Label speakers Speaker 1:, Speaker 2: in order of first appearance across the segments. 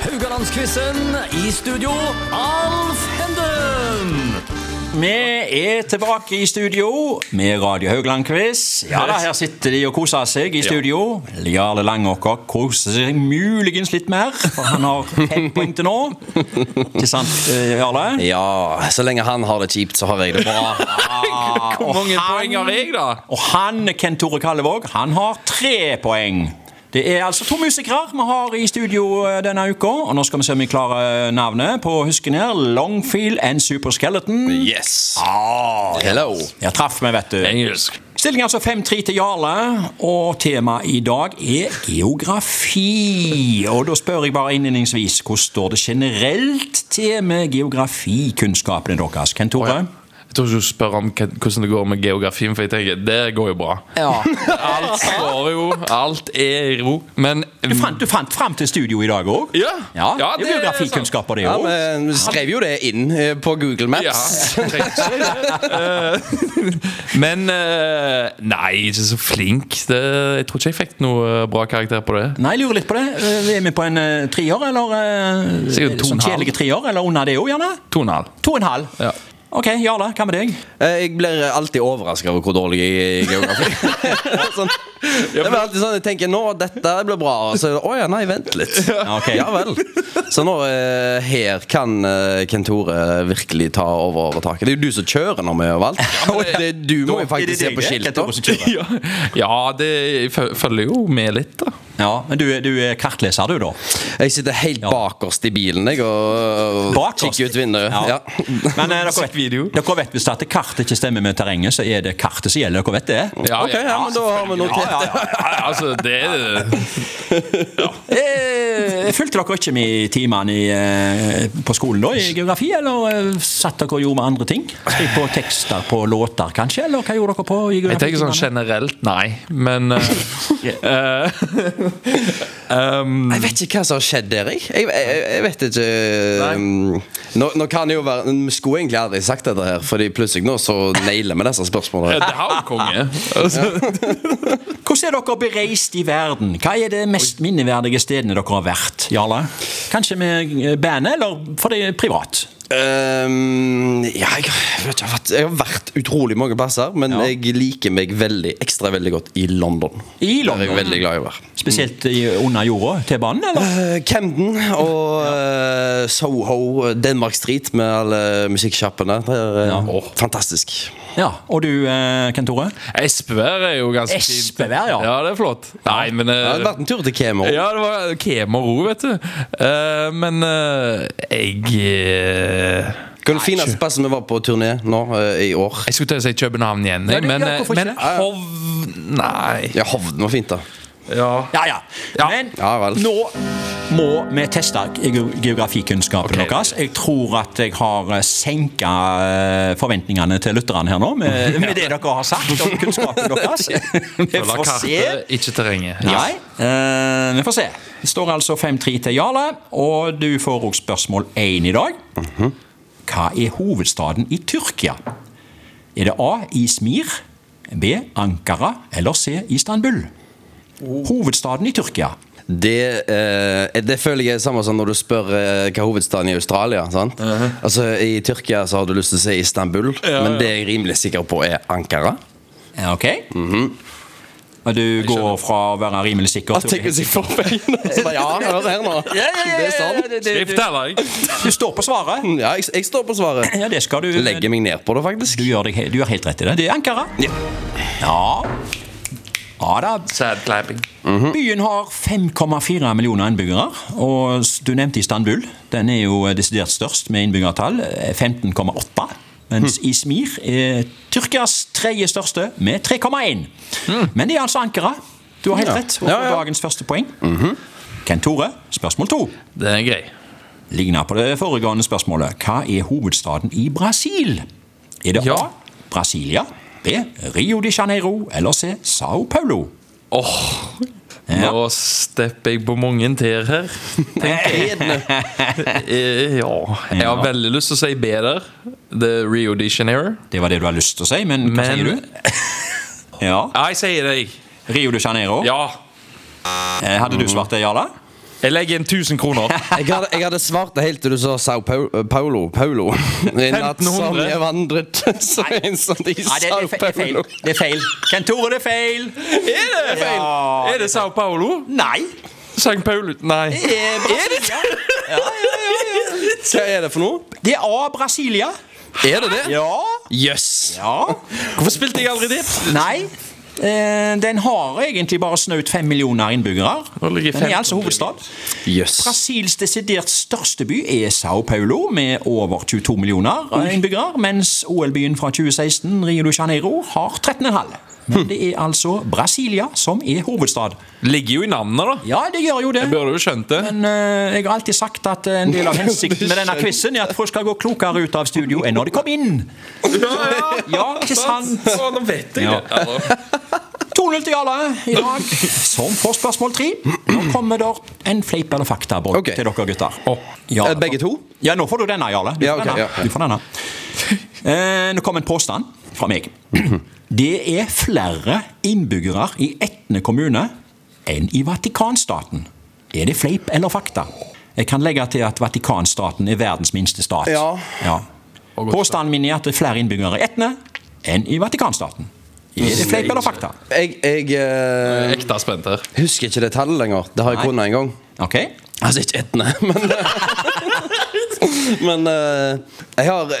Speaker 1: Haugalandsquizen i studio, Alf Henden!
Speaker 2: Vi er tilbake i studio med Radio Haugland-quiz. Ja da, Her sitter de og koser seg i studio. Jarle Langåker koser seg muligens litt mer, for han har fem poeng til nå. Ikke sant, eh, Jarle?
Speaker 3: Ja, så lenge han har det kjipt, så har jeg det bra.
Speaker 1: Hvor mange
Speaker 2: han-
Speaker 1: poeng har jeg, da?
Speaker 2: Og han, Kent Tore Kallevåg, han har tre poeng. Det er altså to musikere vi har i studio eh, denne uka. Og nå skal vi se om vi klarer eh, navnet på husken her. Longfeel and Super Skeleton.
Speaker 3: Yes. Hello.
Speaker 2: Jeg traff meg, vet du.
Speaker 1: Engelsk.
Speaker 2: Stillingen er altså 5-3 til Jarle, og temaet i dag er geografi. Og da spør jeg bare innledningsvis, hvordan står det generelt til med geografikunnskapene deres? Kent Tore?
Speaker 1: Jeg tror ikke du spør om hva- hvordan det går med geografien, for jeg tenker det går jo bra. Alt står jo, alt er i ro. Men
Speaker 2: Du fant, du fant frem til studio i dag òg?
Speaker 1: Ja.
Speaker 2: ja.
Speaker 1: Ja,
Speaker 2: det
Speaker 1: det
Speaker 2: er
Speaker 1: er
Speaker 2: geografikunnskaper, det
Speaker 3: Ja,
Speaker 2: òg.
Speaker 3: men Eh, vi skrev jo det inn eh, på Google
Speaker 1: Ja,
Speaker 3: Maps.
Speaker 1: jeg trenger ikke det. Eh, Men eh, Nei, ikke så flink. Det, jeg tror ikke jeg fikk noe eh, bra karakter på det.
Speaker 2: Nei, jeg lurer litt på det. Eh, Er vi på en eh, trier, eller eh,
Speaker 1: Sikkert to og en
Speaker 2: sånn
Speaker 1: halv.
Speaker 2: kjedelige trier? Eller under det òg, gjerne?
Speaker 1: To og en halv.
Speaker 2: To og en halv.
Speaker 1: Ja.
Speaker 2: Ok, Jarle, hva med deg?
Speaker 3: Eh, Jeg blir alltid overraska over hvor dårlig jeg er i geografi. sånn. Det blir alltid sånn, Jeg tenker nå, dette blir bra. Og så er det å ja, nei, vent litt.
Speaker 2: Ok.
Speaker 3: Ja vel. Så nå eh, her kan eh, Kent Tore virkelig ta over overtaket. Det er jo du som kjører når vi gjør valgt. Det, du må jo
Speaker 2: Er det
Speaker 3: faktisk se
Speaker 2: deg,
Speaker 3: på
Speaker 2: det? Kent
Speaker 3: skiltet.
Speaker 2: Tore som kjører?
Speaker 1: Ja, ja det jeg fø- følger jo med litt, da.
Speaker 2: Ja, men du, er- du er kartleser, du, da?
Speaker 3: Jeg sitter helt bakerst i bilen jeg, og og
Speaker 2: Bakerst?
Speaker 3: kikker ut vinduet.
Speaker 2: Ja.
Speaker 3: Ja.
Speaker 2: Men eh, dere,
Speaker 1: Musikk, video.
Speaker 2: vet, dere vet hvis at kartet ikke stemmer med terrenget, så er det kartet som gjelder. Dere vet det?
Speaker 1: Ja,
Speaker 3: Ok, ja, men da har
Speaker 2: Ja,
Speaker 3: vi notert
Speaker 2: ja,
Speaker 3: det.
Speaker 2: ja.
Speaker 1: Ja, altså, det
Speaker 2: Eh, Fulgte dere ikke med i timene i, eh, på skolen da, i geografi, eller eh, satt dere og gjorde med andre ting? Skrev på tekster på låter, kanskje, eller hva gjorde dere på i
Speaker 1: Jeg tenker sånn
Speaker 2: geografi?
Speaker 1: generelt nei, men eh, eh, um,
Speaker 3: Jeg vet ikke hva som har skjedd der, jeg. Jeg, jeg, jeg vet ikke um, nå, nå kan det jo være Vi skulle egentlig aldri sagt dette her, Fordi plutselig nå så nailer vi disse spørsmålene.
Speaker 1: Det har jo konge. Altså,
Speaker 2: Hvordan er dere bereist i verden? Hva er det mest minneverdige stedene dere har vært, Jarle? Kanskje med eh, bandet, eller for det privat?
Speaker 3: Um, ja, jeg, jeg, vet ikke, jeg, har vært, jeg har vært utrolig mange plasser, men
Speaker 2: Ja.
Speaker 3: jeg liker meg veldig ekstra veldig godt i London.
Speaker 2: I
Speaker 3: Der er jeg
Speaker 2: London?
Speaker 3: veldig glad i å være.
Speaker 2: Spesielt i, under jorda, til banen, eller?
Speaker 3: Eh, Camden og eh, Soho, Denmark Street med alle musikksjappene. Det er, eh,
Speaker 2: Ja.
Speaker 3: Fantastisk.
Speaker 2: Ja, Og du, eh, Kent Tore?
Speaker 1: Espevær er jo ganske
Speaker 2: Espevær, ja.
Speaker 1: Ja, det er flott. Nei, men eh,
Speaker 3: Jeg har vært en tur til Kemo.
Speaker 1: Ja, det var kemer òg, vet du. Eh, men eh, jeg eh,
Speaker 3: Hva er det fineste plassen vi var på turné nå eh, i år?
Speaker 1: Jeg skulle til å si København igjen,
Speaker 2: Ja,
Speaker 1: jeg,
Speaker 2: det-
Speaker 1: men,
Speaker 2: ja,
Speaker 1: eh,
Speaker 2: hvorfor
Speaker 1: men
Speaker 2: ikke?
Speaker 1: Hov... Nei.
Speaker 3: Ja, Hovden var fint, da.
Speaker 1: Ja.
Speaker 2: Ja, ja.
Speaker 1: Ja.
Speaker 2: Men
Speaker 3: Ja, vel.
Speaker 2: nå må vi teste ge- geografikunnskapen
Speaker 1: Ok.
Speaker 2: deres. Jeg tror at jeg har senka eh, forventningene til lytterne her nå, med, med det dere har sagt om kunnskapen deres. Vi
Speaker 1: Følger
Speaker 2: får se.
Speaker 1: kartet, ikke terrenget.
Speaker 2: Nei, eh, vi får se. Det står altså 5-3 til Jarle, og du får også spørsmål 1 i dag.
Speaker 3: Mhm.
Speaker 2: Hva er hovedstaden i Tyrkia? Er det A. Izmir, B. Ankara eller C. Istanbul?
Speaker 3: Oh.
Speaker 2: Hovedstaden i Tyrkia.
Speaker 3: Det, eh, det føler jeg er det samme som når du spør eh, hva hovedstaden i Australia. Sant? Altså I Tyrkia så har du lyst til å si Istanbul, men det jeg er rimelig sikker på, er Ankara.
Speaker 2: Ja, Ok? Og du går fra å være rimelig sikker til
Speaker 3: Mhm. jeg får pengene! Så bare, ja, hør her nå. Det er sant.
Speaker 1: Skrift eller ikke?
Speaker 2: Du står på svaret.
Speaker 3: Ja, jeg, jeg står på svaret.
Speaker 2: Ja, det skal du.
Speaker 3: Legger meg ned på det,
Speaker 2: Du
Speaker 3: faktisk.
Speaker 2: gjør, deg, he- du gjør helt rett i det. Det er Ankara.
Speaker 3: Ja.
Speaker 2: Ja. Ja da,
Speaker 1: Sad clapping.
Speaker 3: Mhm.
Speaker 2: Byen har 5,4 millioner innbyggere, og s- du nevnte Istanbul. Den er jo eh, desidert størst med innbyggertall, eh, 15,8. Mens
Speaker 3: Mhm.
Speaker 2: Izmir er Tyrkias tredje største med 3,1. Men det er altså Ankara. Du har helt
Speaker 3: Mhm. Ja.
Speaker 2: rett. Og får
Speaker 3: Ja, Mhm. ja.
Speaker 2: dagens første poeng. Kent Tore, spørsmål to.
Speaker 1: Den er grei.
Speaker 2: Ligner på det foregående spørsmålet. Hva er hovedstaden i Brasil? Er det
Speaker 1: Ja.
Speaker 2: A. Brasilia? B. Rio de Janeiro? Eller C. Sao Paulo?
Speaker 1: Åh, Nå stepper jeg på mange tær her. Eh, Ja. Jeg har veldig lyst til å si B der. Det er Rio de Janeiro.
Speaker 2: Det var det du har lyst til å si, men hva
Speaker 1: Men-
Speaker 2: sier du? ja.
Speaker 1: Ja, jeg sier det, jeg.
Speaker 2: Rio de Janeiro.
Speaker 1: Ja.
Speaker 2: Eh, Hadde du svart det, Jarle?
Speaker 1: Jeg legger inn 1000 kroner.
Speaker 3: Jeg hadde, jeg hadde svart det helt til du sa Sao Pau- eh, Paulo. Paulo. En natt som
Speaker 1: 1500.
Speaker 3: jeg vandret så ensomt i
Speaker 2: Nei, det,
Speaker 3: Sao
Speaker 2: det, er fe- det er feil.
Speaker 3: Paulo.
Speaker 2: Det er feil. Kent Tore, det er feil.
Speaker 1: Er det feil?
Speaker 2: Ja.
Speaker 1: Er det Sao Paulo?
Speaker 2: Nei.
Speaker 1: St. Paulu Nei.
Speaker 2: Det er Brasilia.
Speaker 3: Hva er det for noe?
Speaker 2: Det er A, Brasilia.
Speaker 3: Er det det?
Speaker 2: Ja.
Speaker 3: Jøss.
Speaker 2: ja.
Speaker 1: Hvorfor spilte jeg aldri det?
Speaker 2: Nei. Eh, den har egentlig bare snaut fem millioner innbyggere.
Speaker 1: Nå ligger
Speaker 2: Den er
Speaker 1: 15
Speaker 2: altså hovedstad.
Speaker 3: Jøss.
Speaker 2: Brasils desidert største by er Sao Paulo, med over 22 millioner eh, innbyggere. Mens OL-byen fra 2016, Rio de Janeiro, har 13,5. Men det er altså Brasilia som er hovedstad.
Speaker 1: Ligger jo i navnet, da.
Speaker 2: Ja, det gjør jo det.
Speaker 1: Burde jo skjønt det.
Speaker 2: Men eh, jeg har alltid sagt at eh, en del av hensikten med denne quizen er at folk skal gå klokere ut av studio enn når de kom inn. Ja, ikke sant?
Speaker 1: Å, nå vet jeg
Speaker 2: Ja.
Speaker 1: det. Altså,
Speaker 2: 2-0 til Jarle i dag, som får spørsmål tre. Nå kommer der en fleip eller fakta Borg,
Speaker 3: Ok.
Speaker 2: til dere gutter.
Speaker 3: Eh, begge to?
Speaker 2: Ja, nå får du denne, Jarle. Du
Speaker 3: Ja,
Speaker 2: får
Speaker 3: ok,
Speaker 2: denne.
Speaker 3: ja.
Speaker 2: Du får denne. Eh, nå kommer en påstand fra meg. Det er flere innbyggere i Etne kommune enn i Vatikanstaten. Er det fleip eller fakta? Jeg kan legge til at Vatikanstaten er verdens minste stat.
Speaker 3: Ja.
Speaker 2: Ja. Påstanden min er at det er flere innbyggere i Etne enn i Vatikanstaten. Er det fleip eller fakta?
Speaker 3: Jeg, jeg eh,
Speaker 1: Ekte spent her.
Speaker 3: husker ikke det tallet lenger. Det har jeg
Speaker 2: Nei.
Speaker 3: kunnet en gang.
Speaker 2: Ok?
Speaker 3: Altså ikke etne, men Men eh, jeg har det,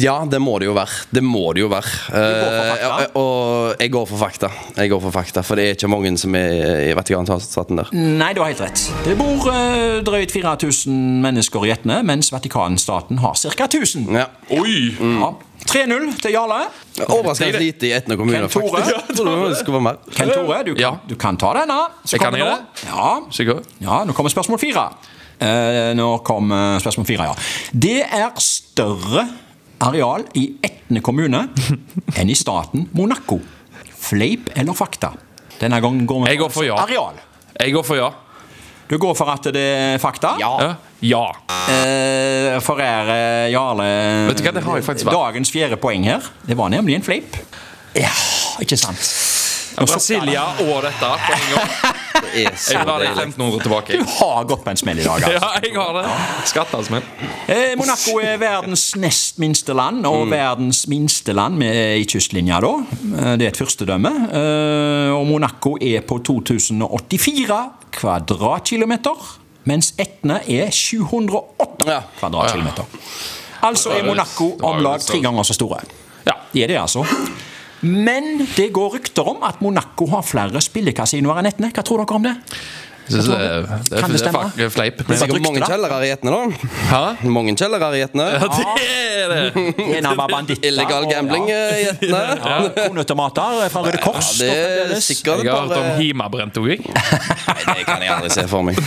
Speaker 3: Ja, det må det jo være. Det må det jo være.
Speaker 2: går for fakta?
Speaker 3: Eh, og- og jeg går for fakta. Jeg går for fakta, For det er ikke mange som er i Vatikanstaten der.
Speaker 2: Nei, du har helt rett. Det bor eh, drøyt 4000 mennesker i Etne, mens Vatikanstaten har ca. 1000.
Speaker 3: Ja.
Speaker 1: Oi!
Speaker 2: Ja. 3-0 til Jarle.
Speaker 3: Overraskende lite i Etne kommune,
Speaker 2: Kent Tore?
Speaker 3: faktisk. Jeg trodde det skulle være mer.
Speaker 2: Kent Tore, du kan,
Speaker 1: Ja.
Speaker 2: du kan ta denne. Så
Speaker 1: Jeg kan
Speaker 2: kommer
Speaker 1: gjøre
Speaker 2: nå- Ja.
Speaker 1: Sikker?
Speaker 2: ja, nå kommer spørsmål fire. Eh, nå kommer spørsmål fire, ja. Det er større areal i Etne kommune enn i staten Monaco. Fleip eller fakta? Denne gangen går vi
Speaker 1: Jeg går for ja.
Speaker 2: areal.
Speaker 1: Jeg går for ja.
Speaker 2: Du går for at det er fakta?
Speaker 1: Ja. ja.
Speaker 2: Eh, forære Jarle
Speaker 1: Vet du hva, det har jeg faktisk vært.
Speaker 2: Dagens fjerde poeng her. Det var nemlig en fleip. Ja, ikke sant? Nå sukker
Speaker 1: Brasilia og dette på en gang.
Speaker 3: Det er så
Speaker 1: Jeg lar de
Speaker 3: deilig.
Speaker 1: 1500 tilbake.
Speaker 2: han.
Speaker 1: altså,
Speaker 2: Du har gått på en smell i dag. Altså.
Speaker 1: Ja, jeg har det. Skattesmell.
Speaker 2: Eh, Monaco er verdens nest minste land,
Speaker 1: Mm.
Speaker 2: og verdens minste land med, i kystlinja, da. Eh, Det er et fyrstedømme. Eh, og Monaco er på 2084 kvadratkilometer, mens Etne er 708
Speaker 3: Ja.
Speaker 2: kvadratkilometer. Altså er
Speaker 1: Det var jo-
Speaker 2: Monaco
Speaker 1: det var jo
Speaker 2: om lag
Speaker 1: litt
Speaker 2: tre
Speaker 1: sånn.
Speaker 2: ganger så store.
Speaker 1: Ja.
Speaker 2: De er det, altså. Men det går rykter om at Monaco har flere spillekasinoer enn Etne. Hva tror dere om det?
Speaker 1: Synes det, er- det,
Speaker 2: Kan det
Speaker 1: er- det er
Speaker 2: stemme?
Speaker 1: faktisk fleip.
Speaker 3: Det er
Speaker 1: Men,
Speaker 2: var-
Speaker 3: sikkert
Speaker 2: Rykte,
Speaker 3: mange
Speaker 2: da.
Speaker 3: kjellere i Etne, da.
Speaker 1: hæ?
Speaker 3: Mange kjellere i Etne.
Speaker 1: Det er det!
Speaker 2: En av banditter.
Speaker 3: Illegal gambling
Speaker 2: Ja.
Speaker 3: eh, i Etne.
Speaker 2: Ja, Kronautomater fra Røde Kors.
Speaker 3: Ja, det er
Speaker 2: fremdeles.
Speaker 3: sikkert
Speaker 1: Jeg har hørt om
Speaker 3: bare
Speaker 1: Himabrent òg, jeg.
Speaker 3: Nei, det kan jeg aldri se for meg.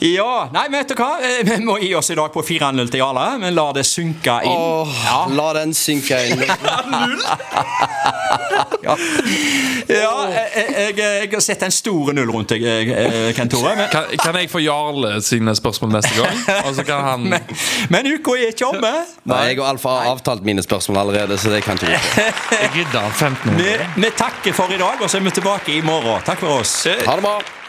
Speaker 2: Ja, nei, vet du hva? Eh, Vi må gi oss i dag på 4-0 til Jarle. Vi lar det synke inn.
Speaker 3: Åh, La den synke inn.
Speaker 2: Ja, jeg, jeg, eh, jeg har sett en stor null rundt deg, eh, Kent Tore. Men,
Speaker 1: Kan, kan jeg få Jarle sine spørsmål neste gang? Og så kan han
Speaker 2: men uka er ikke omme.
Speaker 3: Nei, jeg og Alfa har avtalt mine spørsmål allerede, så det kan ikke gå.
Speaker 1: Jeg rydder han 1500.
Speaker 2: Vi, vi takker for i dag, og så er vi tilbake i morgen. Takk for oss.
Speaker 3: Ha det bra.